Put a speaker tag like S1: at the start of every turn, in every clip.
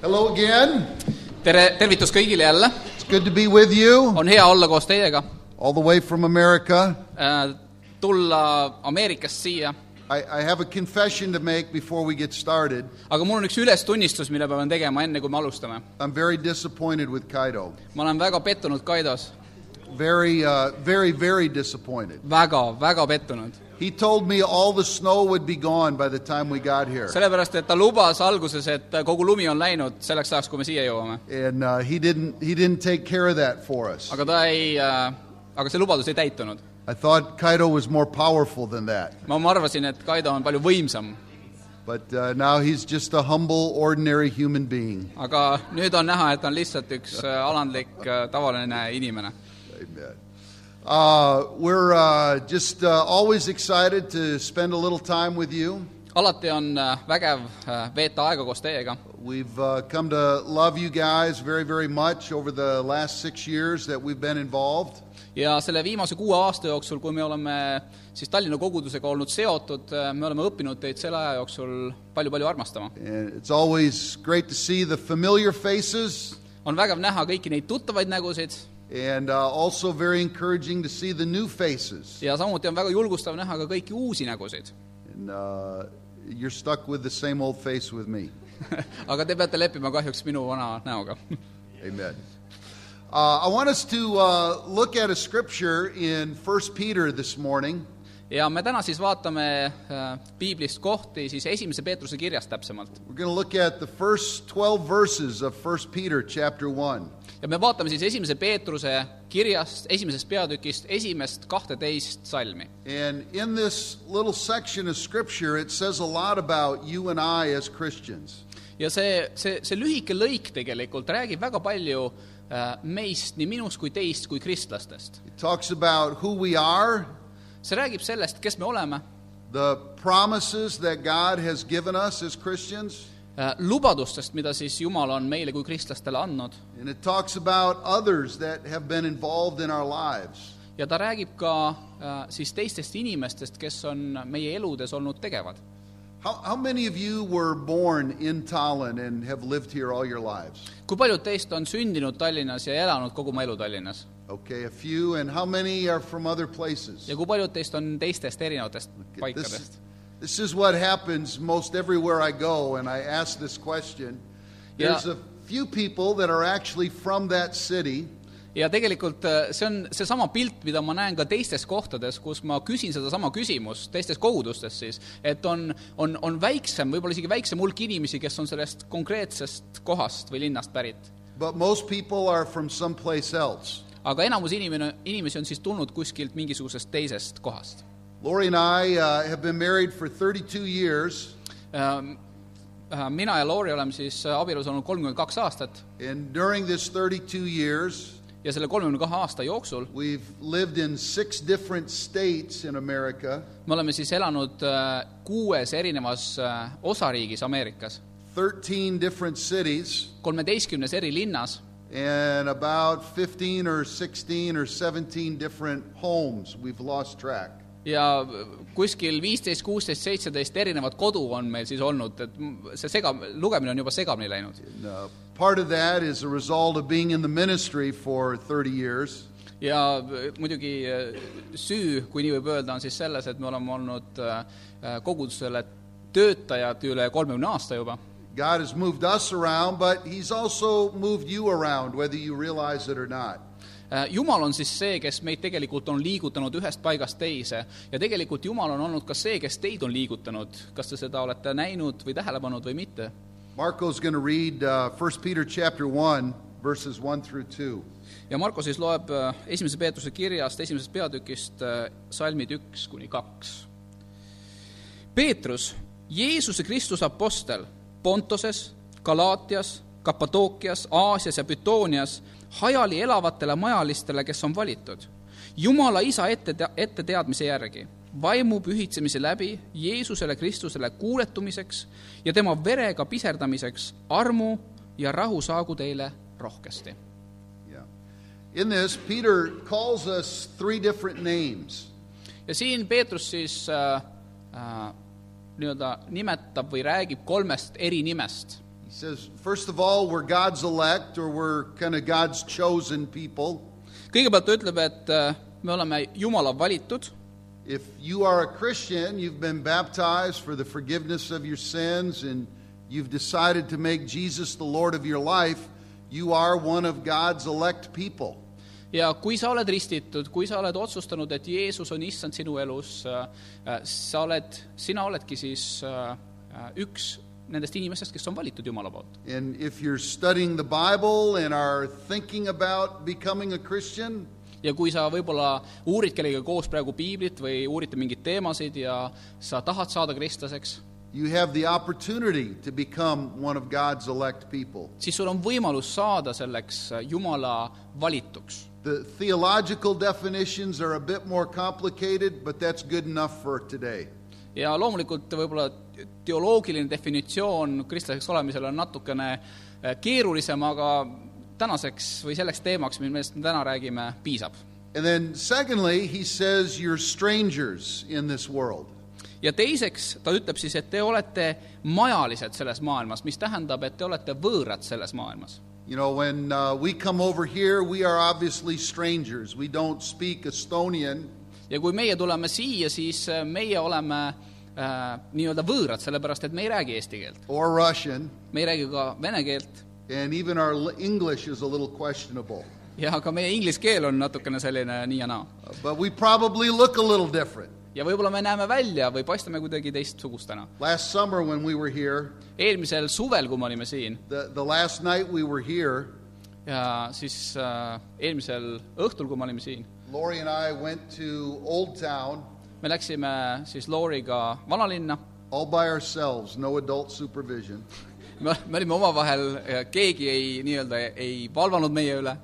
S1: Hello again.
S2: tere , tervitus kõigile jälle ,
S1: It's good to be with you,
S2: on hea olla koos teiega ,
S1: all the way from America.
S2: tulla Ameerikast siia ,
S1: I, I have a confession to make before we get started.
S2: aga mul on üks ülestunnistus , mille pean tegema enne , kui me alustame .
S1: I'm very disappointed with Kaido.
S2: ma olen väga pettunud Kaidos ,
S1: Very, uh, very, very disappointed.
S2: väga , väga pettunud .
S1: He told me all the snow would be gone by the time we got here.
S2: sellepärast , et ta lubas alguses , et kogu lumi on läinud selleks ajaks , kui me siia jõuame .
S1: And uh, he, didn't, he didn't take care of that for us.
S2: aga ta ei , aga see lubadus ei täitunud .
S1: I thought Kaido was more powerful than that.
S2: ma , ma arvasin , et Kaido on palju võimsam ,
S1: But uh, now he's just a humble, ordinary human being.
S2: aga nüüd on näha , et ta on lihtsalt üks äh, alandlik , tavaline inimene .
S1: Amen. Uh, we're uh, just uh, always excited to spend a little time with you.
S2: alati on äh, vägev äh, veeta aega koos teiega
S1: We've uh, come to love you guys very, very much over the last six years that we've been involved.
S2: ja selle viimase kuue aasta jooksul , kui me oleme siis Tallinna kogudusega olnud seotud , me oleme õppinud teid selle aja jooksul palju-palju armastama .
S1: And it's always great to see the familiar faces
S2: on vägev näha kõiki neid tuttavaid nägusid
S1: and uh, also very encouraging to see the new faces.
S2: ja samuti on väga julgustav näha ka kõiki uusi nägusid .
S1: And uh, you're stuck with the same old face with me.
S2: aga te peate leppima kahjuks minu vana näoga .
S1: Amen. Uh, I want us to uh, look at a scripture in 1 Peter this morning.
S2: ja me täna siis vaatame äh, piiblist kohti siis esimese Peetruse kirjast täpsemalt .
S1: We're going to look at the first 12 verses of 1 Peter chapter 1.
S2: ja me vaatame siis esimese Peetruse kirjast , esimesest peatükist , esimest kahteteist salmi
S1: And in this little section of scripture, it says a lot about you and I as Christians.
S2: ja see , see , see lühike lõik tegelikult räägib väga palju äh, meist , nii minust kui teist kui kristlastest .
S1: It talks about who we are,
S2: see räägib sellest , kes me oleme
S1: the promises that God has given us as Christians,
S2: äh, , lubadustest , mida siis Jumal on meile kui kristlastele andnud
S1: and it talks about others that have been involved in our lives.
S2: ja ta räägib ka äh, siis teistest inimestest , kes on meie eludes olnud tegevad .
S1: How, how many of you were born in Tallinn and have lived here all your lives?
S2: kui paljud teist on sündinud Tallinnas ja elanud kogu oma elu Tallinnas ?
S1: Okay, a few. And how many are from other places?
S2: ja kui paljud teist on teistest erinevatest
S1: Okay, This,
S2: paikadest ?
S1: this is what happens most everywhere I go, and I ask this question.
S2: Yeah.
S1: There's a few people that are actually from that city,
S2: ja tegelikult äh, see on seesama pilt , mida ma näen ka teistes kohtades , kus ma küsin sedasama küsimust , teistes kogudustes siis , et on , on , on väiksem , võib-olla isegi väiksem hulk inimesi , kes on sellest konkreetsest kohast või linnast pärit .
S1: but most people are from someplace else.
S2: aga enamus inimene , inimesi on siis tulnud kuskilt mingisugusest teisest kohast .
S1: Lori and I uh, have been married for 32 years,
S2: Ähm, äh, Mina ja Lauri oleme siis äh, abielus olnud kolmkümmend kaks aastat
S1: and during this 32 years,
S2: ja selle kolmekümne kahe aasta jooksul
S1: we've lived in six different states in America,
S2: me oleme siis elanud äh, kuues erinevas äh, osariigis Ameerikas ,
S1: 13 different cities,
S2: kolmeteistkümnes eri linnas
S1: and about 15 or 16 or 17 different homes. We've lost track.
S2: ja kuskil viisteist , kuusteist , seitseteist erinevat kodu on meil siis olnud , et m- see sega , lugemine on juba segamini läinud .
S1: And, uh, part of that is a result of being in the ministry for 30 years.
S2: ja äh, muidugi äh, süü , kui nii võib öelda , on siis selles , et me oleme olnud äh, äh, kogudusele töötajad üle kolmekümne aasta juba .
S1: God has moved us around, but He's also moved you around, whether you realize it or not.
S2: Äh, Jumal on siis see , kes meid tegelikult on liigutanud ühest paigast teise ja tegelikult Jumal on olnud ka see , kes teid on liigutanud , kas te seda olete näinud või tähele pannud või mitte
S1: Marco's going to read uh, 1 Peter chapter 1, verses 1 through 2.
S2: ja Marko siis loeb äh, esimese Peetruse kirjast , esimesest peatükist äh, salmid üks kuni kaks . Peetrus , Jeesuse Kristuse apostel Pontoses , Galaatias , Kapadookias , Aasias ja Bütoonias hajali elavatele majalistele , kes on valitud , Jumala Isa ette , etteteadmise järgi , vaimu pühitsemise läbi Jeesusele Kristusele kuuletumiseks ja tema verega piserdamiseks armu ja rahu saagu teile rohkesti
S1: Yeah. In this, Peter calls us three different names.
S2: ja siin Peetrus siis äh, äh, nii-öelda nimetab või räägib kolmest eri nimest .
S1: He says, first of all, we're God's elect, or we're kind of God's chosen people.
S2: kõigepealt ta ütleb , et äh, me oleme Jumala valitud ,
S1: If you are a Christian, you've been baptized for the forgiveness of your sins, and you've decided to make Jesus the Lord of your life, you are one of God's elect people.
S2: ja kui sa oled ristitud , kui sa oled otsustanud , et Jeesus on issand sinu elus , sa oled , sina oledki siis äh, äh, üks nendest inimestest , kes on valitud Jumala poolt .
S1: And if you're studying the Bible and are thinking about becoming a Christian,
S2: ja kui sa võib-olla uurid kellegagi koos praegu piiblit või uurite mingeid teemasid ja sa tahad saada kristlaseks ,
S1: you have the opportunity to become one of God's elect people.
S2: siis sul on võimalus saada selleks äh, Jumala valituks
S1: The theological definitions are a bit more complicated, but that's good enough for today.
S2: ja loomulikult võib-olla teoloogiline definitsioon kristlaseks olemisel on natukene eh, keerulisem , aga tänaseks või selleks teemaks , millest me täna räägime , piisab .
S1: And then, secondly, he says you're strangers in this world.
S2: ja teiseks ta ütleb siis , et te olete majalised selles maailmas , mis tähendab , et te olete võõrad selles maailmas .
S1: You know, when uh, we come over here, we are obviously strangers. We don't speak Estonian,
S2: ja kui meie tuleme siia , siis eh, meie oleme äh, nii-öelda võõrad , sellepärast et me ei räägi eesti keelt .
S1: or Russian,
S2: me ei räägi ka vene keelt
S1: and even our l- English is a little questionable.
S2: ja ka meie inglise keel on natukene selline nii ja naa .
S1: Uh, But we probably look a little different.
S2: ja võib-olla me näeme välja või paistame kuidagi teistsugustena .
S1: Last summer, when we were here,
S2: eelmisel suvel , kui me olime siin
S1: the, the last night we were here,
S2: ja siis äh, eelmisel õhtul , kui me olime siin ,
S1: Lori and I went to Old Town
S2: me läksime siis Lauriga vanalinna ,
S1: all by ourselves, no adult supervision.
S2: me , me olime omavahel , keegi ei , nii-öelda ei valvanud meie üle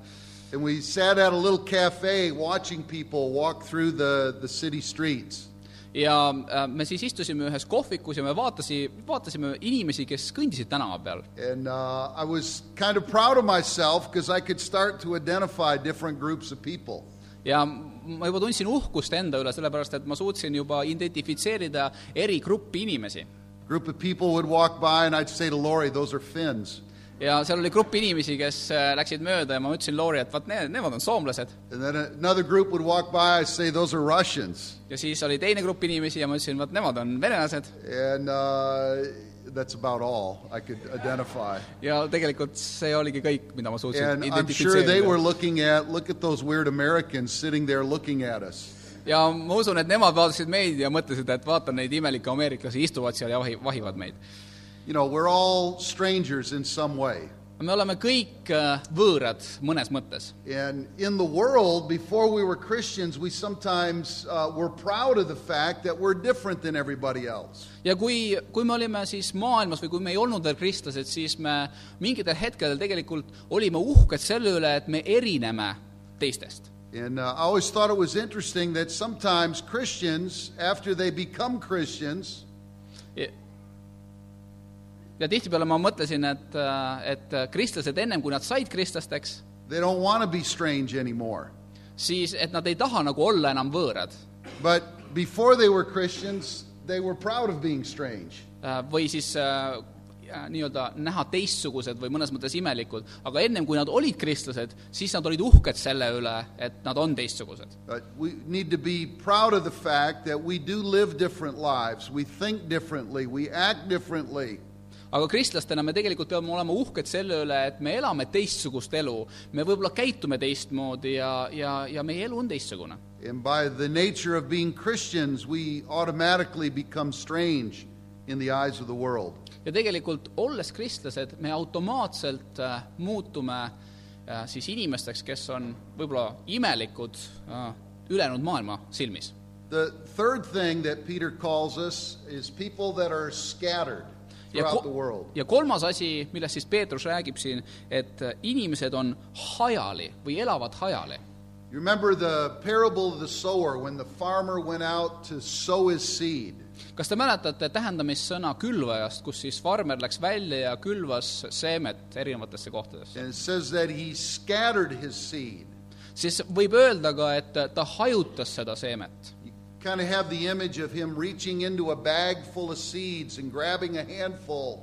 S1: And we sat at a little cafe watching people walk through the, the city streets.
S2: ja äh, me siis istusime ühes kohvikus ja me vaatasi , vaatasime inimesi , kes kõndisid tänava peal .
S1: And uh, I was kind of proud of myself because I could start to identify different groups of people.
S2: ja ma juba tundsin uhkust enda üle , sellepärast et ma suutsin juba identifitseerida eri gruppi inimesi
S1: group of people would walk by, and I'd say to Lori, Those are Finns.
S2: ja seal oli grupp inimesi , kes äh, läksid mööda ja ma ütlesin Lauri , et vaat need , nemad on soomlased .
S1: And then another group would walk by, I'd say, Those are Russians.
S2: ja siis oli teine grupp inimesi ja ma ütlesin , vaat nemad on venelased
S1: And uh, that's about all I could identify.
S2: ja tegelikult see oligi kõik , mida ma suutsin
S1: And I'm sure they were
S2: identifitseerida .
S1: looking at, look at those weird Americans sitting there looking at us.
S2: ja ma usun , et nemad vaatasid meid ja mõtlesid , et vaata neid imelikke ameeriklasi istuvad seal ja vahi , vahivad meid .
S1: You know, we're all strangers in some way.
S2: me oleme kõik äh, võõrad mõnes mõttes
S1: And in the world, before we were Christians, we sometimes uh, were proud of the fact that we're different than everybody else.
S2: ja kui , kui me olime siis maailmas või kui me ei olnud veel kristlased , siis me mingitel hetkedel tegelikult olime uhked selle üle , et me erineme teistest
S1: And uh, I always thought it was interesting that sometimes Christians, after they become Christians,
S2: ja ja tihtipeale ma mõtlesin , et , et kristlased ennem , kui nad said kristlasteks ,
S1: they don't want to be strange anymore.
S2: siis et nad ei taha nagu olla enam võõrad
S1: But before they were Christians, they were proud of being strange.
S2: Äh, või siis äh, nii-öelda näha teistsugused või mõnes mõttes imelikud , aga ennem kui nad olid kristlased , siis nad olid uhked selle üle , et nad on teistsugused .
S1: But we need to be proud of the fact that we do live different lives. We think differently. We act differently.
S2: aga kristlastena me tegelikult peame olema uhked selle üle , et me elame teistsugust elu , me võib-olla käitume teistmoodi ja , ja , ja meie elu on teistsugune .
S1: And by the nature of being Christians, we automatically become strange in the eyes of the world.
S2: ja tegelikult , olles kristlased , me automaatselt äh, muutume äh, siis inimesteks , kes on võib-olla imelikud äh, ülejäänud maailma silmis .
S1: The third thing that Peter calls us is people that are scattered
S2: ja,
S1: throughout
S2: ko-
S1: the world.
S2: ja kolmas asi , millest siis Peetrus räägib siin , et äh, inimesed on hajali või elavad hajali .
S1: You remember the parable of the sower when the farmer went out to sow his seed?
S2: kas te mäletate tähendamissõna külvajast , kus siis farmer läks välja ja külvas seemet erinevatesse kohtadesse ?
S1: And it says that he scattered his seed.
S2: siis võib öelda ka , et äh, ta hajutas seda seemet .
S1: You kind of have the image of him reaching into a bag full of seeds and grabbing a handful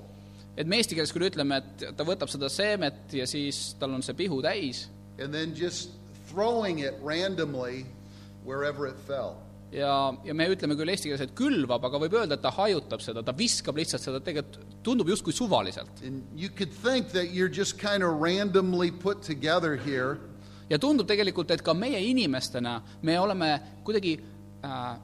S2: et me eesti keeles küll ütleme , et ta võtab seda seemet ja siis tal on see pihu täis
S1: and then just throwing it randomly wherever it fell.
S2: ja , ja me ütleme küll eesti keeles , et külvab , aga võib öelda , et ta hajutab seda , ta viskab lihtsalt seda , tegelikult tundub justkui suvaliselt .
S1: And you could think that you're just kind of randomly put together here,
S2: ja tundub tegelikult , et ka meie inimestena me oleme kuidagi äh,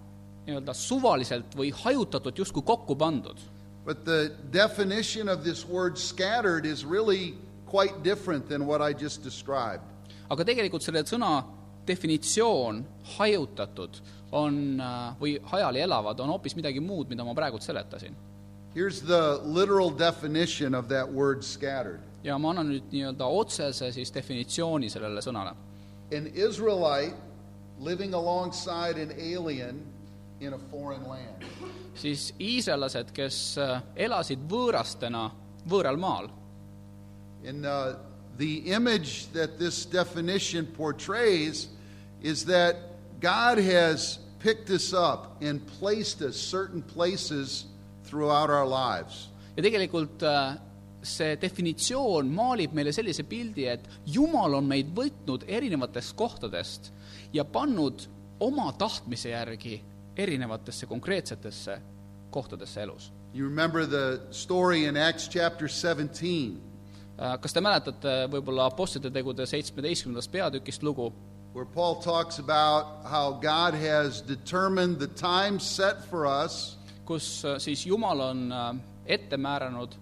S2: nii-öelda suvaliselt või hajutatult justkui kokku pandud .
S1: but the definition of this word scattered is really quite different than what I just described.
S2: aga tegelikult selle sõna definitsioon , hajutatud , on äh, või hajali elavad , on hoopis midagi muud , mida ma praegult seletasin .
S1: Here's the literal definition of that word scattered
S2: ja ma annan nüüd nii-öelda otsese siis definitsiooni sellele sõnale
S1: an Israelite living alongside an alien in a foreign land.
S2: siis iisraellased , kes äh, elasid võõrastena võõral maal
S1: And uh, the image that this definition portrays is that God has picked us up and placed us certain places throughout our lives.
S2: ja tegelikult äh, see definitsioon maalib meile sellise pildi , et Jumal on meid võtnud erinevatest kohtadest ja pannud oma tahtmise järgi erinevatesse konkreetsetesse kohtadesse elus .
S1: You remember the story in Acts chapter 17,
S2: Äh, kas te mäletate võib-olla Apostlite tegude seitsmeteistkümnendast peatükist lugu ,
S1: where Paul talks about how God has determined the time set for us
S2: kus äh, siis Jumal on äh, ette määranud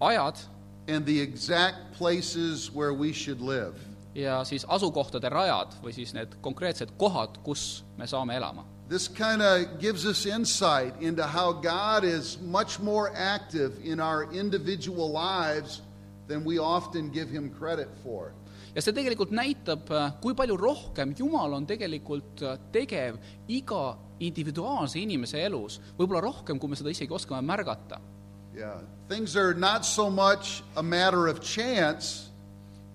S2: ajad
S1: and the exact places where we should live.
S2: ja siis asukohtade rajad või siis need konkreetsed kohad , kus me saame elama .
S1: This kind of gives us insight into how God is much more active in our individual lives than we often give Him credit for.
S2: ja see tegelikult näitab , kui palju rohkem Jumal on tegelikult äh, tegev iga individuaalse inimese elus , võib-olla rohkem , kui me seda isegi oskame märgata .
S1: Yeah. Things are not so much a matter of chance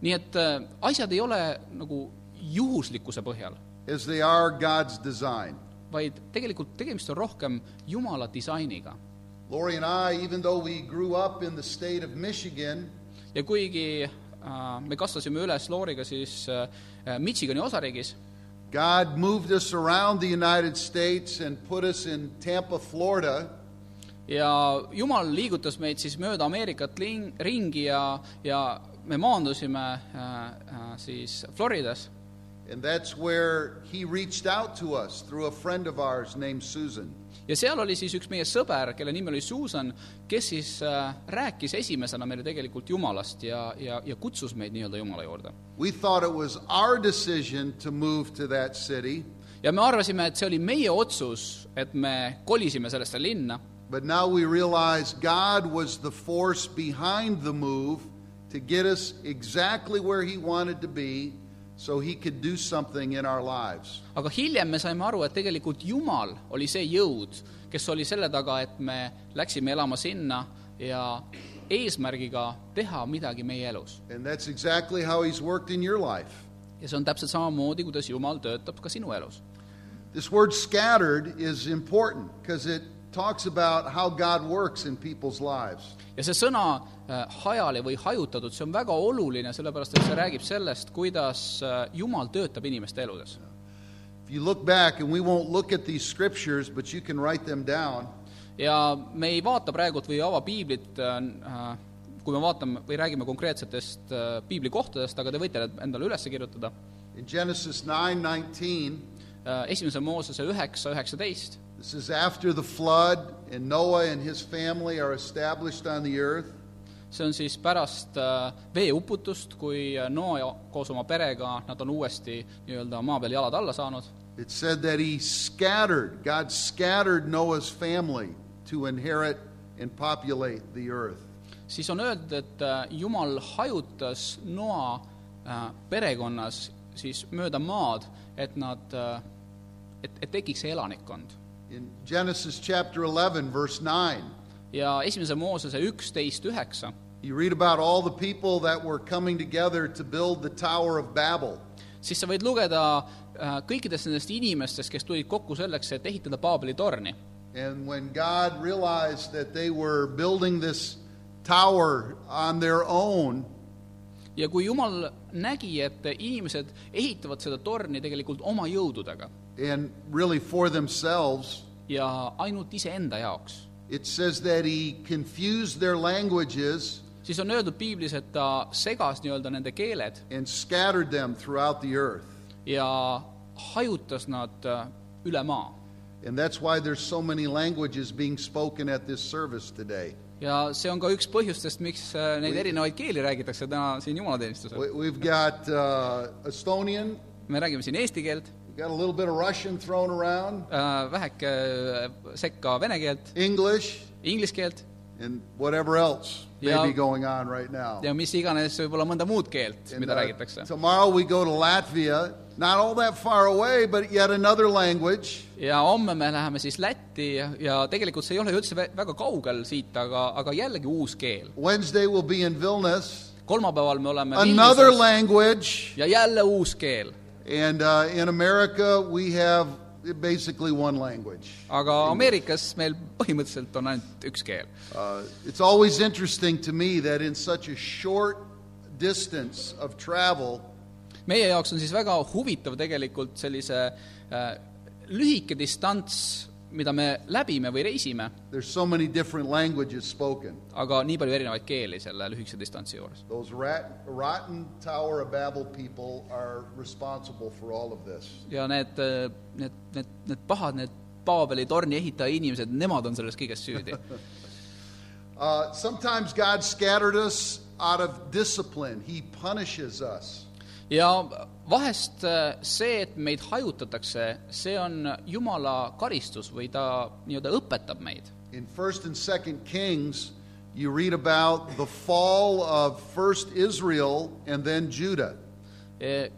S2: nii et äh, asjad ei ole nagu juhuslikkuse põhjal ,
S1: as they are God's design.
S2: vaid tegelikult tegemist on rohkem Jumala disainiga .
S1: Lori and I, even though we grew up in the state of Michigan,
S2: ja kuigi äh, me kasvasime üles Looriga siis äh, Michigani osariigis ,
S1: God moved us around the United States and put us in Tampa, Florida.
S2: ja Jumal liigutas meid siis mööda Ameerikat ling- , ringi ja , ja me maandusime äh, äh, siis Floridas
S1: And that's where He reached out to us through a friend of ours named Susan.
S2: ja seal oli siis üks meie sõber , kelle nimi oli Susan , kes siis äh, rääkis esimesena meile tegelikult Jumalast ja , ja , ja kutsus meid nii-öelda Jumala juurde .
S1: We thought it was our decision to move to that city,
S2: ja me arvasime , et see oli meie otsus , et me kolisime sellesse linna ,
S1: but now we realize God was the force behind the move to get us exactly where He wanted to be so He could do something in our lives.
S2: aga hiljem me saime aru , et tegelikult Jumal oli see jõud , kes oli selle taga , et me läksime elama sinna ja eesmärgiga teha midagi meie elus .
S1: And that's exactly how He's worked in your life.
S2: ja see on täpselt samamoodi , kuidas Jumal töötab ka sinu elus
S1: This word scattered is important because it talks about how God works in people's lives.
S2: ja see sõna äh, hajali või hajutatud , see on väga oluline , sellepärast et see räägib sellest , kuidas äh, Jumal töötab inimeste eludes .
S1: If you look back, and we won't look at these scriptures, but you can write them down.
S2: ja me ei vaata praegult või ei ava piiblit , kui me vaatame või räägime konkreetsetest äh, piiblikohtadest , aga te võite need endale üles kirjutada .
S1: In Genesis 9 19,
S2: Äh, esimese Moosese üheksa , üheksateist ,
S1: This is after the flood, and Noah and his family are established on the earth.
S2: see on siis pärast äh, veeuputust , kui äh, Noa ja- koos oma perega , nad on uuesti nii-öelda maa peal jalad alla saanud
S1: It said that he scattered, God scattered Noah's family to inherit and populate the earth.
S2: siis on öeldud , et äh, Jumal hajutas Noa äh, perekonnas siis mööda maad , et nad , et , et tekiks see elanikkond .
S1: In Genesis chapter 11, verse 9,
S2: ja esimese Moosese üksteist üheksa ,
S1: you read about all the people that were coming together to build the Tower of Babel.
S2: siis sa võid lugeda äh, kõikidest nendest inimestest , kes tulid kokku selleks , et ehitada Paabeli torni .
S1: And when God realized that they were building this tower on their own,
S2: ja kui Jumal nägi, et inimesed ehitavad seda torni tegelikult oma jõududega
S1: and really for themselves,
S2: ja ainult iseenda jaoks,
S1: it says that he confused their languages
S2: siis on öeldud piiblis , et ta segas nii-öelda nende keeled
S1: and scattered them throughout the earth.
S2: ja hajutas nad äh, üle maa
S1: And that's why there's so many languages being spoken at this service today.
S2: ja see on ka üks põhjustest , miks äh, neid erinevaid keeli räägitakse täna siin jumalateenistusel .
S1: We- We've got uh, Estonian,
S2: me räägime siin eesti keelt ,
S1: we've got a little bit of Russian thrown around,
S2: väheke äh, sekka vene keelt ,
S1: English,
S2: inglise keelt
S1: and whatever else may
S2: Yeah.
S1: be going on right now.
S2: ja mis iganes , võib-olla mõnda muud keelt ,
S1: And,
S2: mida
S1: uh,
S2: räägitakse .
S1: tomorrow we go to Latvia, not all that far away, but yet another language.
S2: ja homme me läheme siis Lätti ja, ja tegelikult see ei ole ju üldse vä- väga kaugel siit , aga , aga jällegi uus keel .
S1: Wednesday we'll be in Vilnius,
S2: kolmapäeval me oleme
S1: another
S2: Vilniuses
S1: language.
S2: ja jälle uus keel .
S1: And uh, in America, we have basically one language.
S2: aga Ameerikas meil põhimõtteliselt on ainult üks keel .
S1: Uh, it's always interesting to me that in such a short distance of travel,
S2: meie jaoks on siis väga huvitav tegelikult sellise äh, lühike distants , mida me läbime või reisime ,
S1: there's so many different languages spoken.
S2: aga nii palju erinevaid keeli selle lühikese distantsi juures .
S1: Those rat, rotten Tower of Babel people are responsible for all of this.
S2: ja need , need , need , need pahad , need Paabeli torni ehitaja inimesed , nemad on selles kõiges süüdi
S1: Uh, sometimes God scattered us out of discipline, He punishes us.
S2: ja vahest äh, see , et meid hajutatakse , see on Jumala karistus või ta nii-öelda õpetab meid .
S1: In 1st and 2nd Kings, you read about the fall of first Israel and then Judah.
S2: E,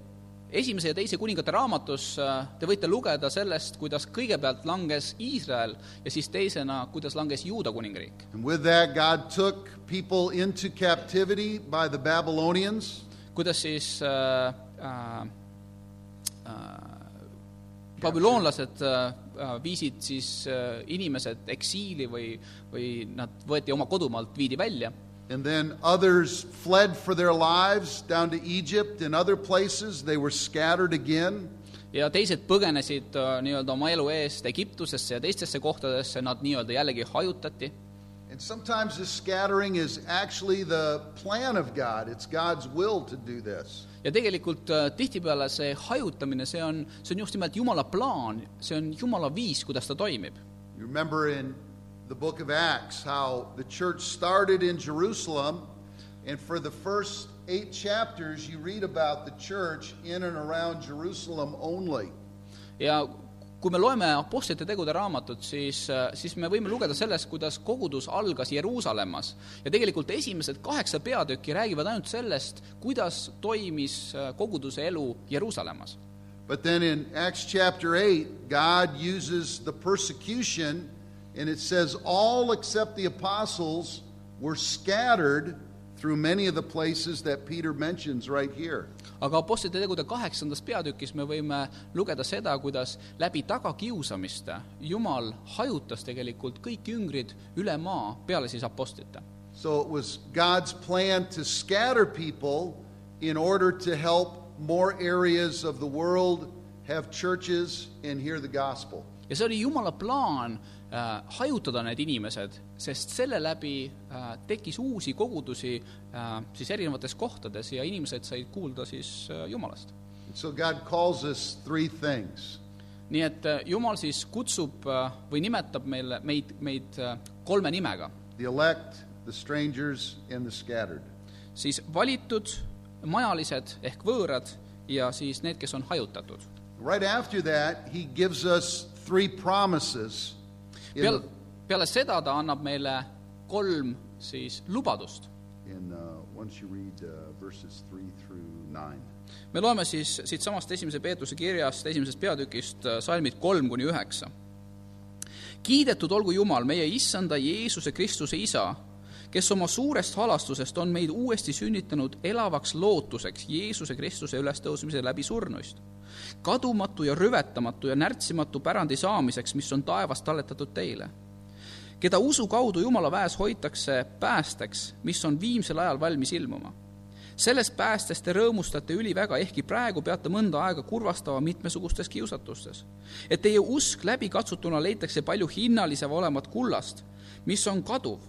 S2: esimese ja teise kuningate raamatus äh, te võite lugeda sellest , kuidas kõigepealt langes Iisrael ja siis teisena , kuidas langes Juuda kuningriik .
S1: And with that, God took people into captivity by the Babylonians.
S2: kuidas siis äh, äh, äh, babüloonlased äh, äh, viisid siis äh, inimesed eksiili või , või nad võeti oma kodumaalt , viidi välja
S1: And then others fled for their lives down to Egypt and other places. They were scattered again.
S2: ja teised põgenesid äh, nii-öelda oma elu eest Egiptusesse ja teistesse kohtadesse , nad nii-öelda jällegi hajutati .
S1: And sometimes this scattering is actually the plan of God, it's God's will to do this.
S2: ja tegelikult äh, tihtipeale see hajutamine , see on , see on just nimelt Jumala plaan , see on Jumala viis , kuidas ta toimib .
S1: You remember in the book of Acts how the church started in Jerusalem, and for the first eight chapters, you read about the church in and around Jerusalem only.
S2: ja kui me loeme Apostlite tegude raamatut , siis , siis me võime lugeda sellest , kuidas kogudus algas Jeruusalemmas . ja tegelikult esimesed kaheksa peatükki räägivad ainult sellest , kuidas toimis äh, koguduse elu Jeruusalemmas
S1: But then in Acts chapter 8, God uses the persecution, and it says, All except the apostles were scattered through many of the places that Peter mentions right here.
S2: aga Apostlite tegude kaheksandas peatükis me võime lugeda seda , kuidas läbi tagakiusamiste Jumal hajutas tegelikult kõik jüngrid üle maa peale siis apostlite .
S1: So it was God's plan to scatter people in order to help more areas of the world have churches and hear the gospel.
S2: ja see oli Jumala plaan äh, hajutada need inimesed , sest selle läbi äh, tekkis uusi kogudusi äh, siis erinevates kohtades ja inimesed said kuulda siis äh, Jumalast .
S1: And so God calls us three things
S2: nii et äh, Jumal siis kutsub äh, või nimetab meile , meid , meid äh, kolme nimega
S1: the elect, the strangers, and the scattered.
S2: siis valitud , majalised ehk võõrad ja siis need , kes on hajutatud .
S1: Right after that, he gives us three promises. In,
S2: peale , peale seda ta annab meile kolm siis lubadust .
S1: in uh, once you read uh, verses three through nine,
S2: me loeme siis siitsamast esimese Peetuse kirjast , esimesest peatükist , salmid kolm kuni üheksa . kiidetud olgu Jumal , meie issanda Jeesuse Kristuse Isa , kes oma suurest halastusest on meid uuesti sünnitanud elavaks lootuseks Jeesuse Kristuse ülestõusmise läbi surnuist . kadumatu ja rüvetamatu ja närtsimatu pärandi saamiseks , mis on taevas talletatud teile keda usu kaudu Jumala väes hoitakse päästeks, mis on viimsel ajal valmis ilmuma. sellest päästest te rõõmustate üliväga, ehkki praegu peate mõnda aega kurvastama mitmesugustes kiusatustes. et teie usk läbikatsutuna leitakse palju hinnalisem olevat kullast, mis on kaduv,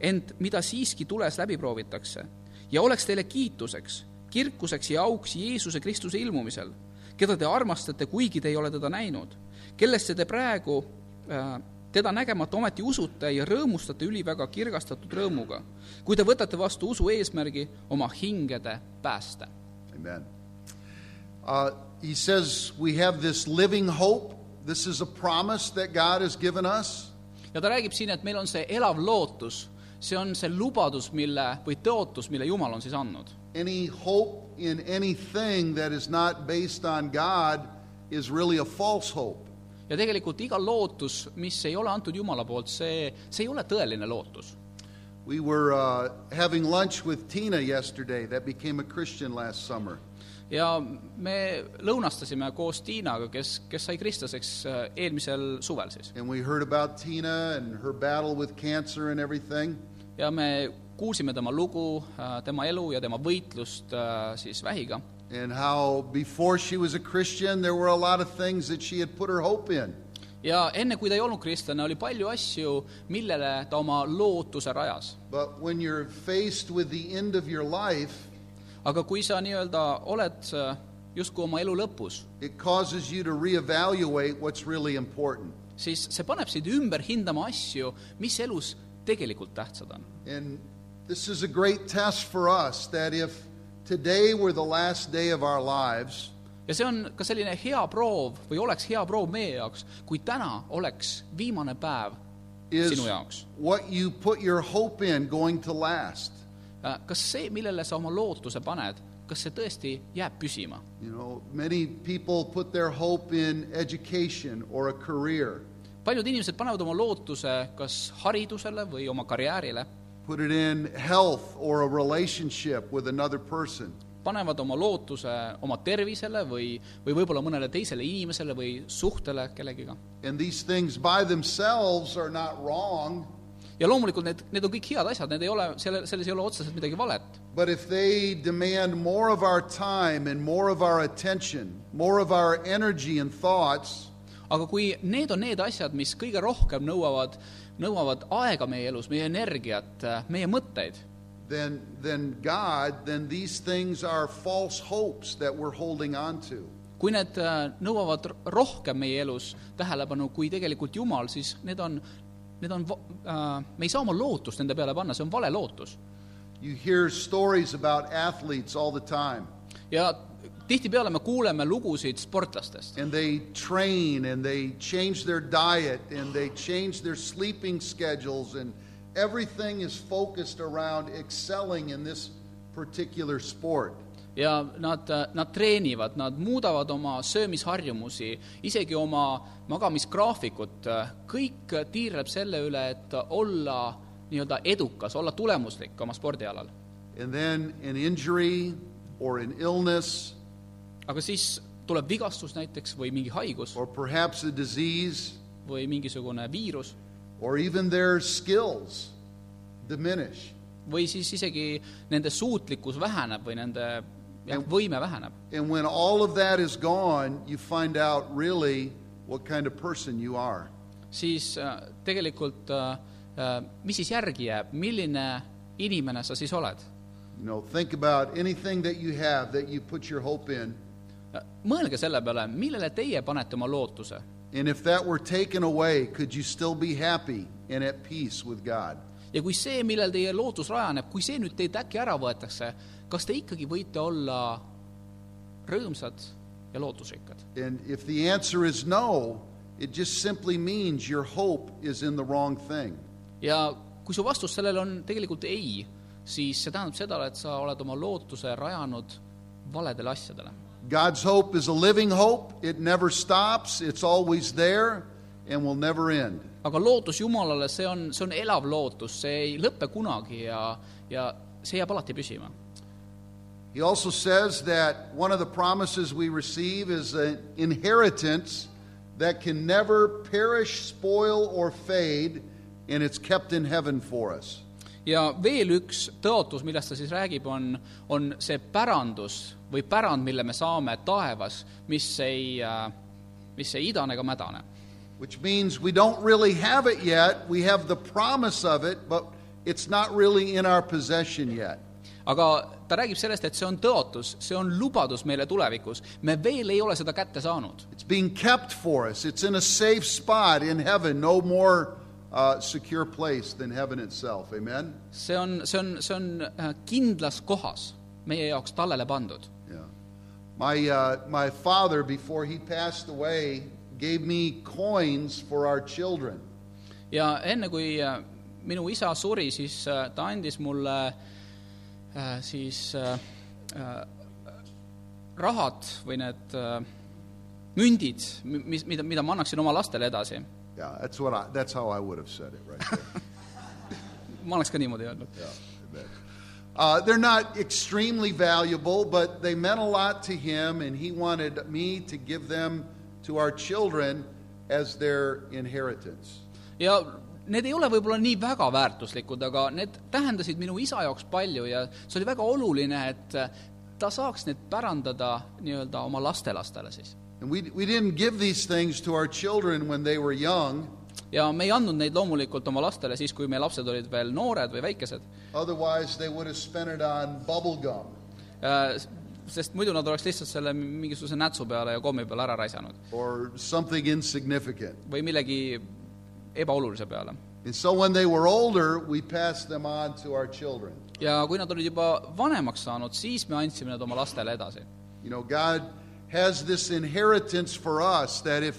S2: ent mida siiski tules läbi proovitakse ja oleks teile kiituseks, kirkuseks ja auks Jeesuse Kristuse ilmumisel, keda te armastate, kuigi te ei ole teda näinud, kellesse te praegu äh, teda nägemata ometi usute ja rõõmustate üliväga kirgastatud rõõmuga, kui te võtate vastu usu eesmärgi oma hingede päästa.
S1: Amen. Uh, he says we have this living hope. This is a promise that God has given us.
S2: ja ta räägib siin, et meil on see elav lootus, see on see lubadus, mille, või tõotus, mille Jumal on siis andnud.
S1: Any hope in anything that is not based on God is really a false hope.
S2: ja tegelikult iga lootus, mis ei ole antud Jumala poolt, see, see ei ole tõeline lootus.
S1: We were uh, having lunch with Tina yesterday, that became a Christian last summer.
S2: ja me lõunastasime koos Tiinaga, kes, kes sai kristlaseks äh, eelmisel suvel siis.
S1: And we heard about Tina and her battle with cancer and everything.
S2: ja me kuulsime tema lugu äh, tema elu ja tema võitlust äh, siis vähiga
S1: And how before she was a Christian, there were a lot of things that she had put her hope in.
S2: ja enne, kui ta ei olnud kristlane, oli palju asju, millele ta oma lootuse rajas .
S1: But when you're faced with the end of your life,
S2: aga kui sa nii-öelda oled äh, justkui oma elu lõpus ,
S1: it causes you to reevaluate what's really important.
S2: siis see paneb sind ümber hindama asju , mis elus tegelikult tähtsad on .
S1: And this is a great test for us that if today were the last day of our lives,
S2: ja see on ka selline hea proov või oleks hea proov meie jaoks , kui täna oleks viimane päev
S1: is
S2: sinu jaoks .
S1: what you put your hope in going to last.
S2: Äh, kas see , millele sa oma lootuse paned , kas see tõesti jääb püsima ?
S1: You know, many people put their hope in education or a career,
S2: paljud inimesed panevad oma lootuse kas haridusele või oma karjäärile ,
S1: put it in health or a relationship with another person.
S2: panevad oma lootuse oma tervisele või , või võib-olla mõnele teisele inimesele või suhtele kellegiga .
S1: And these things by themselves are not wrong,
S2: ja loomulikult need , need on kõik head asjad , need ei ole , selle , selles ei ole otseselt midagi valet .
S1: but if they demand more of our time and more of our attention, more of our energy and thoughts,
S2: aga kui need on need asjad , mis kõige rohkem nõuavad , nõuavad aega meie elus , meie energiat , meie mõtteid ,
S1: then, then God, then these things are false hopes that we're holding on to.
S2: kui need äh, nõuavad r- rohkem meie elus tähelepanu kui tegelikult Jumal , siis need on , need on , me ei saa oma lootust nende peale panna , see on vale lootus .
S1: You hear stories about athletes all the time,
S2: ja tihtipeale me kuuleme lugusid sportlastest
S1: and they train and they change their diet and they change their sleeping schedules, and everything is focused around excelling in this particular sport.
S2: ja nad , nad treenivad , nad muudavad oma söömisharjumusi , isegi oma magamisgraafikut , kõik tiirleb selle üle , et olla nii-öelda edukas , olla tulemuslik oma spordialal .
S1: And then an injury or an illness
S2: aga siis tuleb vigastus näiteks või mingi haigus
S1: or perhaps a disease
S2: või mingisugune viirus
S1: or even their skills diminish.
S2: või siis isegi nende suutlikkus väheneb või nende jah , võime väheneb .
S1: And when all of that is gone, you find out really what kind of person you are.
S2: siis äh, tegelikult äh, äh, mis siis järgi jääb , milline inimene sa siis oled ?
S1: You know, think about anything that you have that you put your hope in.
S2: mõelge selle peale , millele teie panete oma lootuse
S1: And if that were taken away, could you still be happy and at peace with God?
S2: ja kui see , millel teie lootus rajaneb , kui see nüüd teilt äkki ära võetakse , kas te ikkagi võite olla rõõmsad ja lootusrikkad ?
S1: And if the answer is no, it just simply means your hope is in the wrong thing.
S2: ja kui su vastus sellele on tegelikult ei , siis see tähendab seda , et sa oled oma lootuse rajanud valedele asjadele .
S1: God's hope is a living hope, it never stops, it's always there, and will never end.
S2: aga lootus Jumalale , see on , see on elav lootus , see ei lõpe kunagi ja , ja see jääb alati püsima .
S1: He also says that one of the promises we receive is an inheritance that can never perish, spoil, or fade, and it's kept in heaven for us.
S2: ja veel üks tõotus , millest ta siis räägib , on , on see pärandus või pärand , mille me saame taevas , mis ei , mis ei idane ega mädane .
S1: Which means we don't really have it yet. We have the promise of it, but it's not really in our possession yet.
S2: aga ta räägib sellest , et see on tõotus , see on lubadus meile tulevikus , me veel ei ole seda kätte saanud .
S1: It's being kept for us. It's in a safe spot in heaven, no more uh, secure place than heaven itself. Amen?
S2: see on , see on , see on äh, kindlas kohas meie jaoks tallele pandud .
S1: Yeah. My, uh, my father, before he passed away, gave me coins for our children.
S2: ja enne , kui äh, minu isa suri , siis äh, ta andis mulle äh, siis äh, äh, rahad või need äh, mündid , mis , mida , mida ma annaksin oma lastele edasi .
S1: Yeah, that's, what I, that's how I would have said it right there.
S2: ma oleks ka niimoodi öelnud .
S1: Uh, they're not extremely valuable, but they meant a lot to him, and he wanted me to give them to our children as their inheritance.
S2: ja need ei ole võib-olla nii väga väärtuslikud , aga need tähendasid minu isa jaoks palju ja see oli väga oluline , et äh, ta saaks need pärandada nii-öelda oma lastelastele siis .
S1: And we, we didn't give these things to our children when they were young,
S2: ja me ei andnud neid loomulikult oma lastele siis , kui meie lapsed olid veel noored või väikesed ,
S1: otherwise, they would have spent it on bubble gum
S2: Äh, sest muidu nad oleks lihtsalt selle mingisuguse nätsu peale ja kommi peale ära raisanud
S1: or something insignificant.
S2: või millegi ebaolulise peale .
S1: And so when they were older, we passed them on to our children.
S2: ja kui nad olid juba vanemaks saanud , siis me andsime nad oma lastele edasi .
S1: You know, God has this inheritance for us that if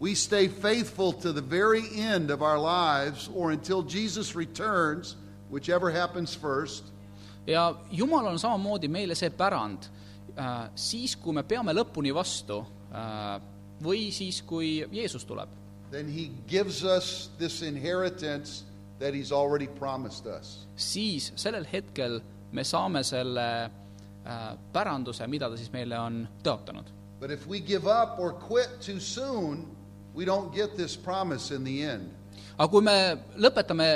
S1: we stay faithful to the very end of our lives or until Jesus returns, whichever happens first,
S2: ja Jumal on samamoodi meile see pärand , siis kui me peame lõpuni vastu äh, või siis , kui Jeesus tuleb
S1: then He gives us this inheritance that He's already promised us.
S2: siis sellel hetkel me saame selle äh, päranduse , mida ta siis meile on tõotanud .
S1: But if we give up or quit too soon, we don't get this promise in the end.
S2: aga kui me lõpetame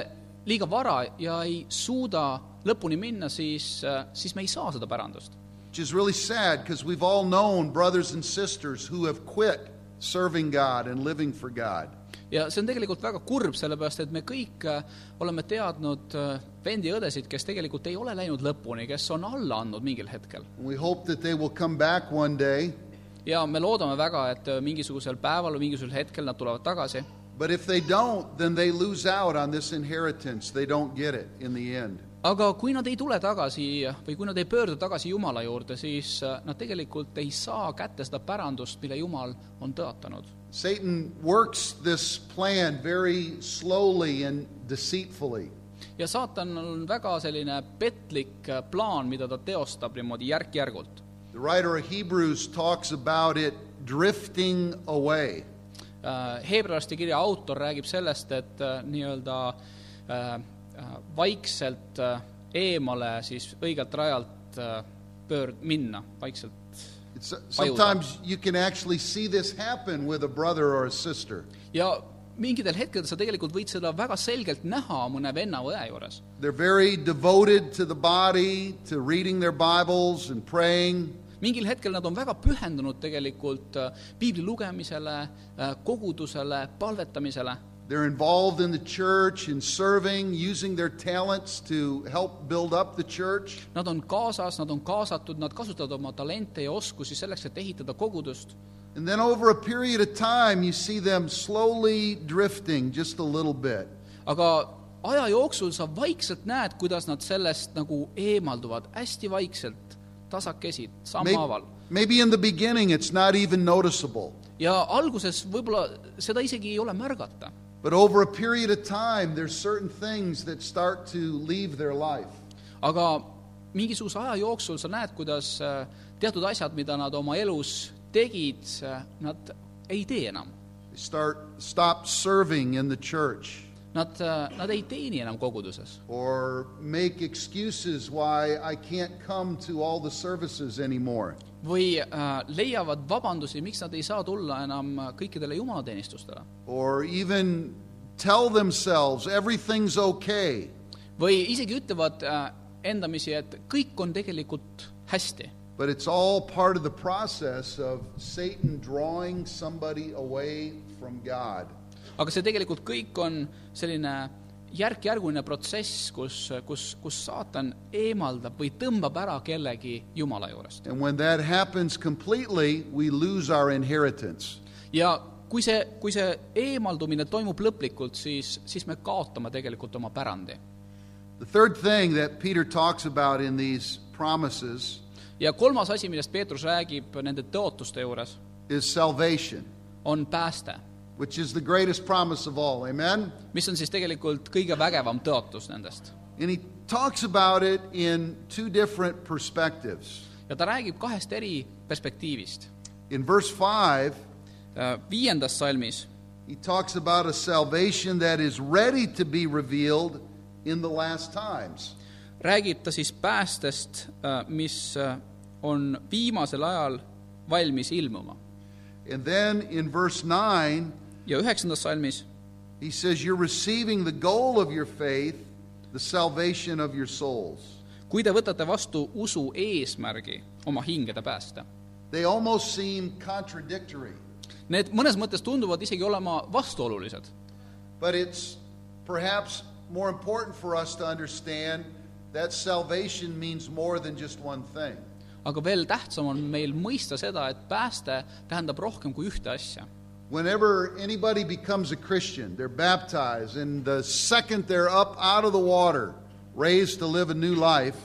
S2: liiga vara ja ei suuda lõpuni minna , siis , siis me ei saa seda pärandust .
S1: Which is really sad because we've all known brothers and sisters who have quit serving God and living for God.
S2: ja see on tegelikult väga kurb , sellepärast et me kõik äh, oleme teadnud äh, vendi ja õdesid , kes tegelikult ei ole läinud lõpuni , kes on alla andnud mingil hetkel .
S1: We hope that they will come back one day,
S2: ja me loodame väga , et äh, mingisugusel päeval või mingisugusel hetkel nad tulevad tagasi
S1: but if they don't, then they lose out on this inheritance. They don't get it in the end.
S2: aga kui nad ei tule tagasi või kui nad ei pöördu tagasi Jumala juurde , siis äh, nad tegelikult ei saa kätte seda pärandust , mille Jumal on tõotanud .
S1: Satan works this plan very slowly and deceitfully.
S2: ja saatan on väga selline petlik äh, plaan , mida ta teostab niimoodi järk-järgult .
S1: The writer of Hebrews talks about it drifting away.
S2: Heebrealaste Äh, kirja autor räägib sellest , et äh, nii-öelda äh, äh, vaikselt äh, eemale siis õigelt rajalt äh, pöörd- , minna , vaikselt
S1: It's, uh, sometimes you can actually see this happen with a brother or a sister.
S2: ja mingidel hetkedel sa tegelikult võid seda väga selgelt näha mõne venna või õe juures .
S1: They're very devoted to the body, to reading their Bibles and praying.
S2: mingil hetkel nad on väga pühendunud tegelikult äh, piibli lugemisele , kogudusele , palvetamisele .
S1: They're involved in the church and serving, using their talents to help build up the church.
S2: Nad on kaasas , nad on kaasatud , nad kasutavad oma talente ja oskusi selleks , et ehitada kogudust .
S1: And then over a period of time, you see them slowly drifting just a little bit.
S2: aga aja jooksul sa vaikselt näed , kuidas nad sellest nagu eemalduvad , hästi vaikselt , tasakesi ,
S1: May-
S2: sammhaaval .
S1: maybe in the beginning, it's not even noticeable.
S2: ja alguses võib-olla seda isegi ei ole märgata .
S1: But over a period of time, there's certain things that start to leave their life.
S2: aga mingisuguse aja jooksul sa näed , kuidas äh, teatud asjad , mida nad oma elus tegid , nad ei tee enam .
S1: They start stop serving in the church
S2: Nad , nad ei teeni enam koguduses
S1: or make excuses why I can't come to all the services anymore.
S2: või äh, leiavad äh, vabandusi , miks nad ei saa tulla enam kõikidele jumalateenistustele .
S1: or even tell themselves everything's okay.
S2: või isegi ütlevad äh, endamisi , et kõik on tegelikult hästi .
S1: But it's all part of the process of Satan drawing somebody away from God.
S2: aga see tegelikult kõik on selline järk-järguline protsess , kus , kus , kus saatan eemaldab või tõmbab ära kellegi Jumala juurest .
S1: And when that happens completely, we lose our inheritance.
S2: ja kui see , kui see eemaldumine toimub lõplikult , siis , siis me kaotame tegelikult oma pärandi .
S1: The third thing that Peter talks about in these promises
S2: ja kolmas asi , millest Peetrus räägib nende tõotuste juures ,
S1: is salvation,
S2: on pääste ,
S1: which is the greatest promise of all. Amen?
S2: mis on siis tegelikult kõige vägevam tõotus nendest .
S1: And he talks about it in two different perspectives.
S2: ja ta räägib kahest eri perspektiivist .
S1: In verse 5,
S2: Viiendas salmis
S1: he talks about a salvation that is ready to be revealed in the last times.
S2: räägib ta siis päästest , mis äh, on viimasel ajal valmis ilmuma .
S1: And then in verse 9,
S2: ja üheksandas salmis
S1: he says, You're receiving the goal of your faith, the salvation of your souls.
S2: kui te võtate vastu usu eesmärgi oma hingede päästa .
S1: They almost seem contradictory,
S2: Need mõnes mõttes tunduvad isegi olema vastuolulised ,
S1: but it's perhaps more important for us to understand that salvation means more than just one thing.
S2: aga veel tähtsam on meil mõista seda , et pääste tähendab rohkem kui ühte asja .
S1: Whenever anybody becomes a Christian, they're baptized, and the second they're up out of the water, raised to live a new life,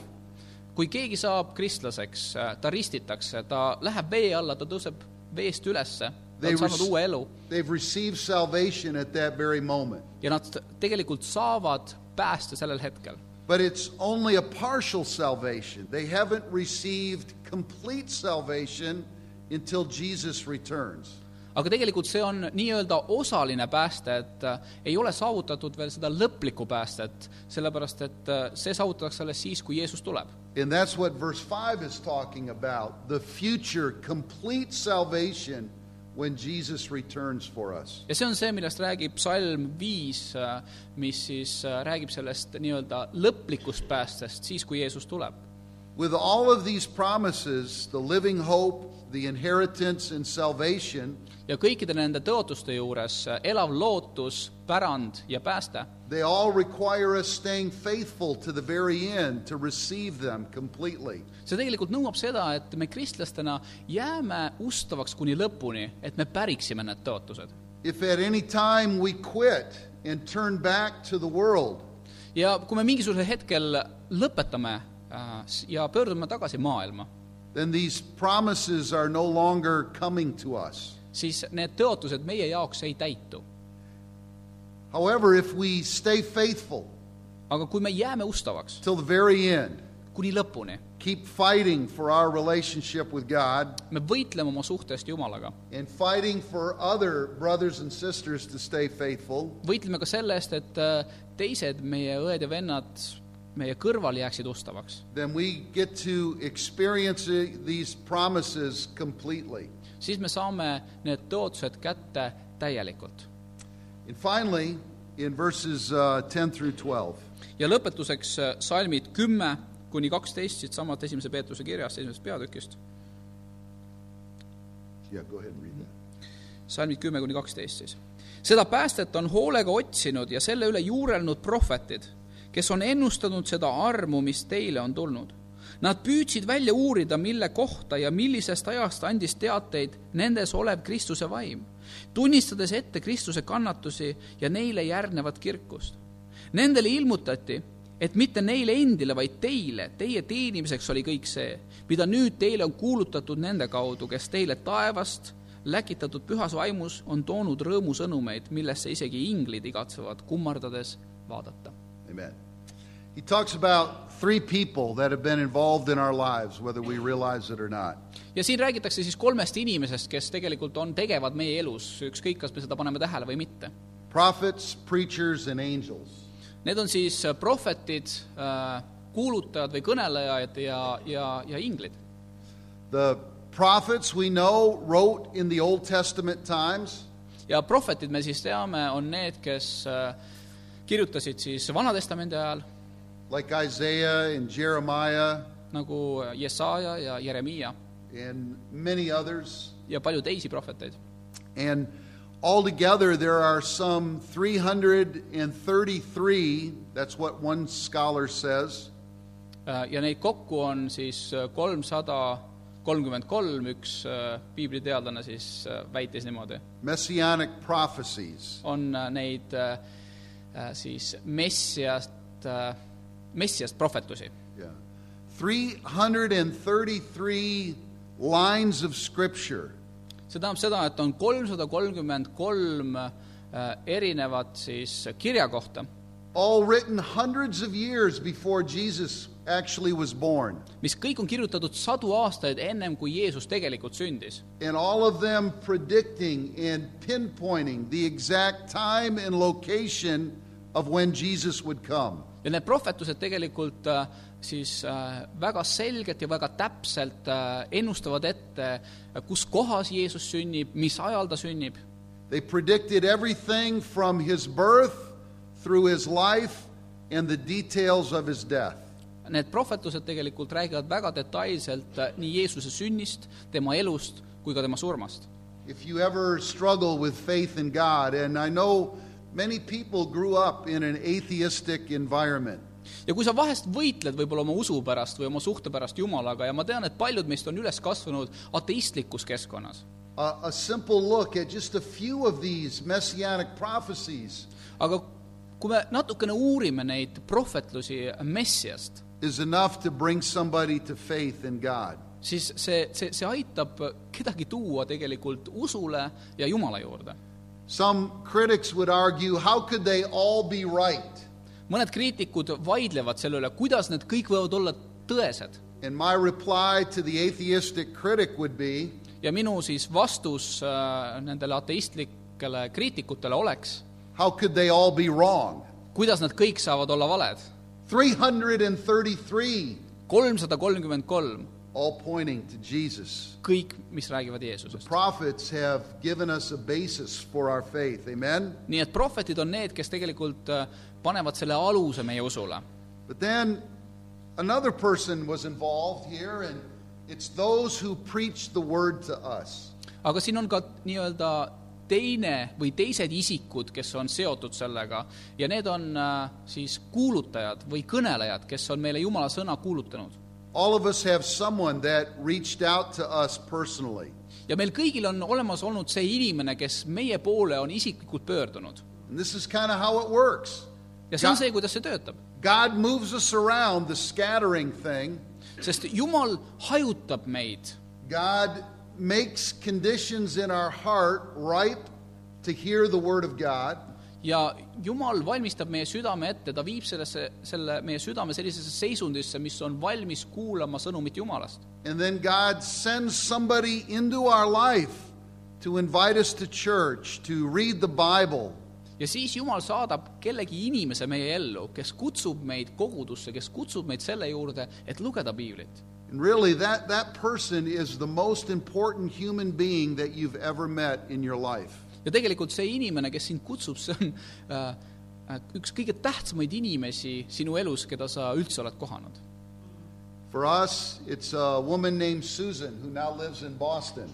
S2: kui keegi saab kristlaseks , ta ristitakse , ta läheb vee alla , ta tõuseb veest ülesse , ta
S1: They
S2: on saanud
S1: rec-
S2: uue elu
S1: they've received salvation at that very moment.
S2: ja nad tegelikult saavad pääste sellel hetkel
S1: But it's only a partial salvation. They haven't received complete salvation until Jesus returns.
S2: aga tegelikult see on nii-öelda osaline pääste , et äh, ei ole saavutatud veel seda lõplikku päästet , sellepärast et äh, see saavutatakse alles siis , kui Jeesus tuleb .
S1: And that's what verse 5 is talking about the future complete salvation when Jesus returns for us.
S2: ja see on see , millest räägib salm viis , mis siis äh, räägib sellest nii-öelda lõplikust päästest siis , kui Jeesus tuleb .
S1: With all of these promises, the living hope, the inheritance, and salvation,
S2: ja kõikide nende tõotuste juures äh, elav lootus , pärand ja pääste ,
S1: they all require us staying faithful to the very end to receive them completely.
S2: see tegelikult nõuab seda , et me kristlastena jääme ustavaks kuni lõpuni , et me päriksime need tõotused
S1: If at any time we quit and turn back to the world,
S2: ja kui me mingisugusel hetkel lõpetame äh, s- ja pöördume tagasi maailma ,
S1: then these promises are no longer coming to us.
S2: siis need tõotused meie jaoks ei täitu .
S1: However, if we stay faithful
S2: aga kui me jääme ustavaks
S1: till the very end,
S2: kuni lõpuni ,
S1: keep fighting for our relationship with God
S2: me võitleme oma suhtest Jumalaga ,
S1: and fighting for other brothers and sisters to stay faithful,
S2: võitleme ka selle eest , et äh, teised meie õed ja vennad meie kõrval jääksid ustavaks ,
S1: then we get to experience i- these promises completely.
S2: siis me saame need tõotused kätte täielikult .
S1: And finally, in verses uh, 10 through 12.
S2: ja lõpetuseks äh, salmid kümme kuni kaksteist siitsamast Esimese Peetruse kirjast , esimesest peatükist ,
S1: Yeah, go ahead and read that.
S2: salmid kümme kuni kaksteist siis . seda päästet on hoolega otsinud ja selle üle juurelnud prohvetid , kes on ennustanud seda armu , mis teile on tulnud . Nad püüdsid välja uurida , mille kohta ja millisest ajast andis teateid nendes olev Kristuse vaim , tunnistades ette Kristuse kannatusi ja neile järgnevat kirkust . Nendele ilmutati , et mitte neile endile , vaid teile , teie teenimiseks oli kõik see , mida nüüd teile on kuulutatud nende kaudu , kes teile taevast läkitatud pühas vaimus on toonud rõõmusõnumeid , millesse isegi inglid igatsevad kummardades vaadata .
S1: Amen. He talks about three people that have been involved in our lives, whether we realize it or not.
S2: ja siin räägitakse siis kolmest inimesest , kes tegelikult on tegevad meie elus , ükskõik , kas me seda paneme tähele või mitte .
S1: Prophets, preachers, and angels.
S2: Need on siis äh, prohvetid , kuulutajad või kõnelejad ja , ja , ja inglid .
S1: The prophets we know wrote in the Old Testament times,
S2: ja prohvetid, me siis teame, on need, kes äh, kirjutasid siis Vana-testamendi ajal
S1: like Isaiah and Jeremiah
S2: nagu Jesaja ja Jeremiia
S1: and many others.
S2: ja palju teisi prohveteid .
S1: And altogether, there are some 333, that's what one scholar says,
S2: Äh, ja neid kokku on siis kolmsada kolmkümmend kolm , üks äh, piibliteadlane siis äh, väitis niimoodi .
S1: messianic prophecies.
S2: on äh, neid äh, äh, siis messiast , messiast prohvetusi .
S1: Yeah. 333 lines of scripture.
S2: see tähendab seda , et on kolmsada kolmkümmend kolm äh, erinevat siis kirjakohta ,
S1: all written hundreds of years before Jesus actually was born.
S2: mis kõik on kirjutatud sadu aastaid ennem , kui Jeesus tegelikult sündis .
S1: And all of them predicting and pinpointing the exact time and location of when Jesus would come.
S2: ja need prohvetused tegelikult äh, siis äh, väga selgelt ja väga täpselt äh, ennustavad ette , kus kohas Jeesus sünnib , mis ajal ta sünnib .
S1: They predicted everything from his birth through his life and the details of his death.
S2: Need prohvetused tegelikult räägivad väga detailselt äh, nii Jeesuse sünnist , tema elust kui ka tema surmast .
S1: If you ever struggle with faith in God, and I know many people grew up in an atheistic environment.
S2: ja kui sa vahest võitled võib-olla oma usu pärast või oma suhte pärast Jumalaga ja ma tean , et paljud meist on üles kasvanud ateistlikus keskkonnas ,
S1: a, a simple look at just a few of these messianic prophecies
S2: aga kui me natukene uurime neid prohvetlusi Messiast ,
S1: is enough to bring somebody to faith in God.
S2: siis see , see , see aitab kedagi tuua tegelikult usule ja Jumala juurde .
S1: Some critics would argue how could they all be right?
S2: mõned kriitikud vaidlevad selle üle , kuidas need kõik võivad olla tõesed
S1: And my reply to the atheistic critic would be
S2: ja minu siis vastus äh, nendele ateistlikele kriitikutele oleks ,
S1: how could they all be wrong?
S2: kuidas nad kõik saavad olla valed .
S1: 333
S2: kolmsada kolmkümmend kolm ,
S1: all pointing to Jesus.
S2: kõik , mis räägivad Jeesusest .
S1: Prophets have given us a basis for our faith. Amen?
S2: nii et prohvetid on need , kes tegelikult äh, panevad selle aluse meie usule .
S1: But then another person was involved here, and it's those who preach the word to us.
S2: aga siin on ka nii-öelda teine või teised isikud , kes on seotud sellega ja need on äh, siis kuulutajad või kõnelejad , kes on meile Jumala sõna kuulutanud .
S1: All of us have someone that reached out to us personally.
S2: ja meil kõigil on olemas olnud see inimene , kes meie poole on isiklikult pöördunud .
S1: And this is kind of how it works
S2: ja see on
S1: Ja-
S2: see , kuidas see töötab .
S1: God moves us around the scattering thing,
S2: sest Jumal hajutab meid
S1: God makes conditions in our heart ripe to hear the word of God.
S2: ja Jumal valmistab meie südame ette , ta viib sellesse , selle meie südame sellisesse seisundisse , mis on valmis kuulama sõnumit Jumalast .
S1: And then God sends somebody into our life to invite us to church, to read the Bible,
S2: ja siis Jumal saadab kellegi inimese meie ellu , kes kutsub meid kogudusse , kes kutsub meid selle juurde , et lugeda piiblit .
S1: And really, that, that person is the most important human being that you've ever met in your life.
S2: ja tegelikult see inimene , kes sind kutsub , see on äh, äh, üks kõige tähtsamaid inimesi sinu elus , keda sa üldse oled kohanud .
S1: For us, it's a woman named Susan who now lives in Boston.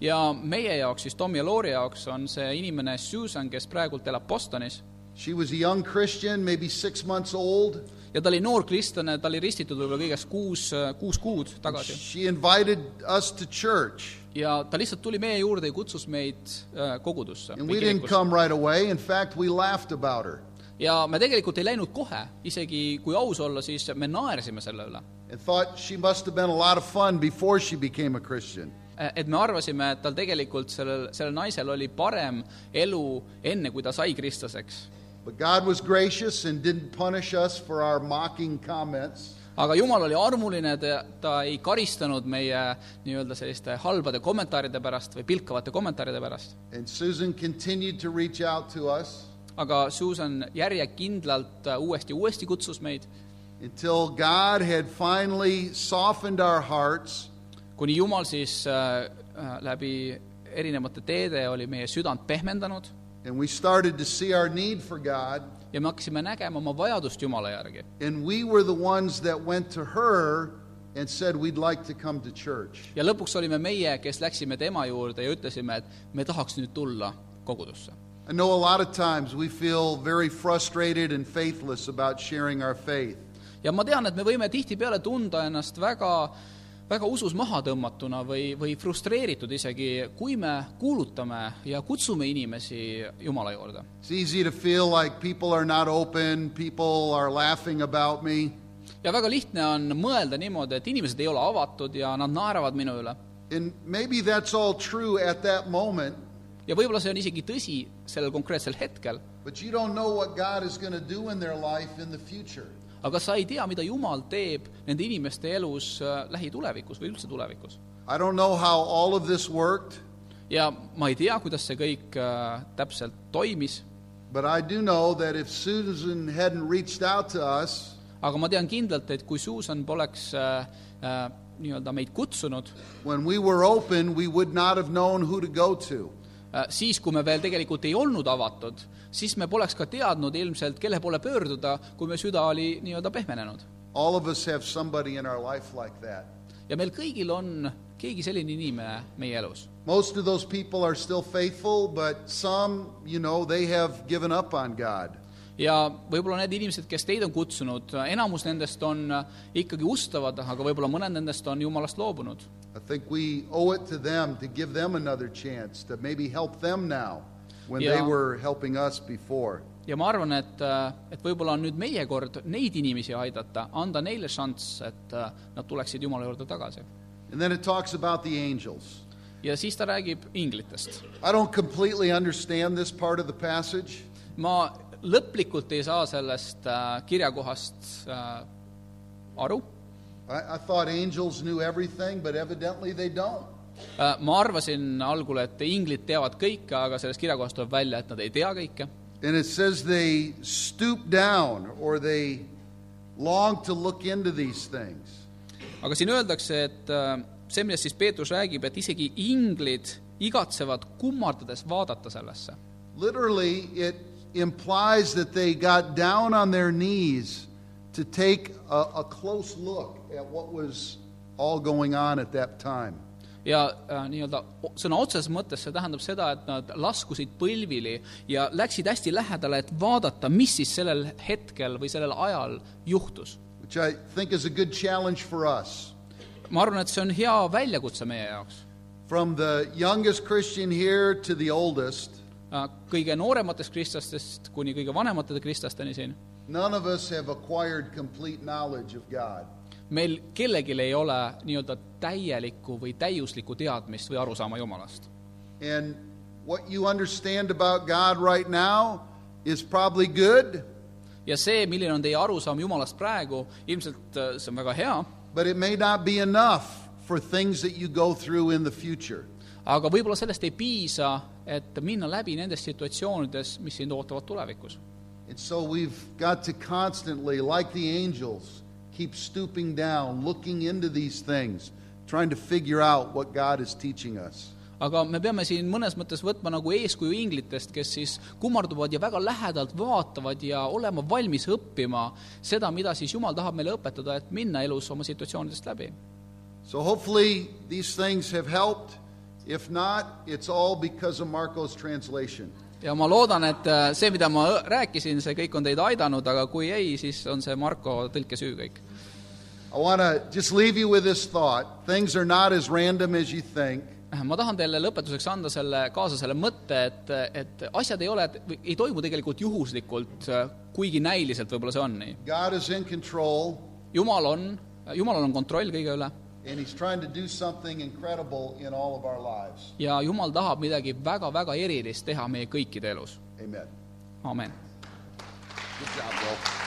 S2: ja meie jaoks siis , Tom ja Lauri jaoks on see inimene Susan , kes praegult elab Bostonis
S1: She was a young Christian, maybe six months old.
S2: ja ta oli noor kristlane , ta oli ristitud võib-olla kõigest kuus , kuus kuud tagasi
S1: She invited us to church.
S2: ja ta lihtsalt tuli meie juurde ja kutsus meid äh, kogudusse
S1: And
S2: või
S1: we didn't
S2: kirikusse.
S1: come right away. In fact, we laughed about her
S2: ja me tegelikult ei läinud kohe , isegi kui aus olla , siis me naersime selle üle .
S1: and thought she must have been a lot of fun before she became a Christian.
S2: et me arvasime , et tal tegelikult sellel , sellel naisel oli parem elu enne , kui ta sai kristlaseks .
S1: But God was gracious and didn't punish us for our mocking comments.
S2: aga Jumal oli armuline , ta ei karistanud meie nii-öelda selliste halbade kommentaaride pärast või pilkavate kommentaaride pärast .
S1: And Susan continued to reach out to us.
S2: aga Susan järjekindlalt äh, uuesti ja uuesti kutsus meid
S1: until God had finally softened our hearts
S2: kuni Jumal siis äh, äh, läbi erinevate teede oli meie südant pehmendanud
S1: And we started to see our need for God.
S2: ja me hakkasime nägema oma vajadust Jumala järgi .
S1: And we were the ones that went to her and said, We'd like to come to church.
S2: ja lõpuks olime meie , kes läksime tema juurde ja ütlesime , et me tahaks nüüd tulla kogudusse .
S1: I know a lot of times we feel very frustrated and faithless about sharing our faith.
S2: ja ma tean , et me võime tihtipeale tunda ennast väga , väga usus maha tõmmatuna või , või frustreeritud isegi , kui me kuulutame ja kutsume inimesi Jumala juurde .
S1: It's easy to feel like people are not open, people are laughing about me.
S2: ja väga lihtne on mõelda niimoodi , et inimesed ei ole avatud ja nad naeravad minu üle .
S1: And maybe that's all true at that moment,
S2: ja võib-olla see on isegi tõsi sellel konkreetsel hetkel ,
S1: but you don't know what God is going to do in their life in the future.
S2: aga sa ei tea , mida Jumal teeb nende inimeste elus äh, lähitulevikus või üldse tulevikus .
S1: I don't know how all of this worked,
S2: ja ma ei tea , kuidas see kõik äh, täpselt toimis ,
S1: but I do know that if Susan hadn't reached out to us,
S2: aga ma tean kindlalt , et kui Susan poleks äh, äh, nii-öelda meid kutsunud ,
S1: when we were open, we would not have known who to go to.
S2: äh, siis , kui me veel tegelikult ei olnud avatud , siis me poleks ka teadnud ilmselt , kelle poole pöörduda , kui meie süda oli nii-öelda pehmenenud .
S1: All of us have somebody in our life like that.
S2: ja meil kõigil on keegi selline inimene meie elus .
S1: Most of those people are still faithful, but some, you know, they have given up on God.
S2: ja võib-olla need inimesed , kes teid on kutsunud , enamus nendest on ikkagi ustavad , aga võib-olla mõned nendest on jumalast loobunud .
S1: I think we owe it to them to give them another chance, to maybe help them now when they
S2: Yeah.
S1: were helping us before.
S2: ja ma arvan , et , et võib-olla on nüüd meie kord neid inimesi aidata , anda neile šanss , et äh, nad tuleksid Jumala juurde tagasi .
S1: And then it talks about the angels.
S2: ja siis ta räägib inglitest .
S1: I don't completely understand this part of the passage,
S2: ma lõplikult ei saa sellest äh, kirjakohast äh, aru .
S1: I, I thought angels knew everything, but evidently they don't.
S2: Äh, ma arvasin algul , et inglid teavad kõike , aga sellest kirjakohast tuleb välja , et nad ei tea kõike .
S1: And it says they stoop down or they long to look into these things.
S2: aga siin öeldakse , et äh, see , millest siis Peetrus räägib , et isegi inglid igatsevad kummardades vaadata sellesse
S1: Literally, it implies that they got down on their knees to take a, a close look at what was all going on at that time.
S2: ja äh, nii-öelda o- sõna otseses mõttes see tähendab seda , et nad laskusid põlvili ja läksid hästi lähedale , et vaadata , mis siis sellel hetkel või sellel ajal juhtus .
S1: Which I think is a good challenge for us.
S2: ma arvan , et see on hea väljakutse meie jaoks .
S1: From the youngest Christian here to the oldest,
S2: Äh, kõige noorematest kristlastest kuni kõige vanemate kristlasteni siin ,
S1: none of us have acquired complete knowledge of God.
S2: meil kellelgi ei ole nii-öelda täielikku või täiuslikku teadmist või arusaama Jumalast .
S1: And what you understand about God right now is probably good,
S2: ja see , milline on teie arusaam Jumalast praegu , ilmselt äh, see on väga hea ,
S1: but it may not be enough for things that you go through in the future.
S2: aga võib-olla sellest ei piisa , et minna läbi nendes situatsioonides , mis sind ootavad tulevikus .
S1: And so we've got to constantly, like the angels, keep stooping down, looking into these things, trying to figure out what God is teaching us.
S2: aga me peame siin mõnes mõttes võtma nagu eeskuju inglitest , kes siis kummarduvad ja väga lähedalt vaatavad ja olema valmis õppima seda , mida siis Jumal tahab meile õpetada , et minna elus oma situatsioonidest läbi .
S1: So hopefully these things have helped. If not, it's all because of Marco's translation.
S2: ja ma loodan , et äh, see , mida ma õ- rääkisin , see kõik on teid aidanud , aga kui ei , siis on see Marko tõlkesüü kõik .
S1: I want to just leave you with this thought. Things are not as random as you think.
S2: Äh, ma tahan teile lõpetuseks anda selle , kaasa selle mõtte , et , et asjad ei ole , ei toimu tegelikult juhuslikult , kuigi näiliselt võib-olla see on nii .
S1: God is in control,
S2: jumal on , jumalal on kontroll kõige üle
S1: and He's trying to do something incredible in all of our lives.
S2: ja Jumal tahab midagi väga-väga erilist teha meie kõikide elus .
S1: Amen.
S2: amen .
S1: Good job, Will.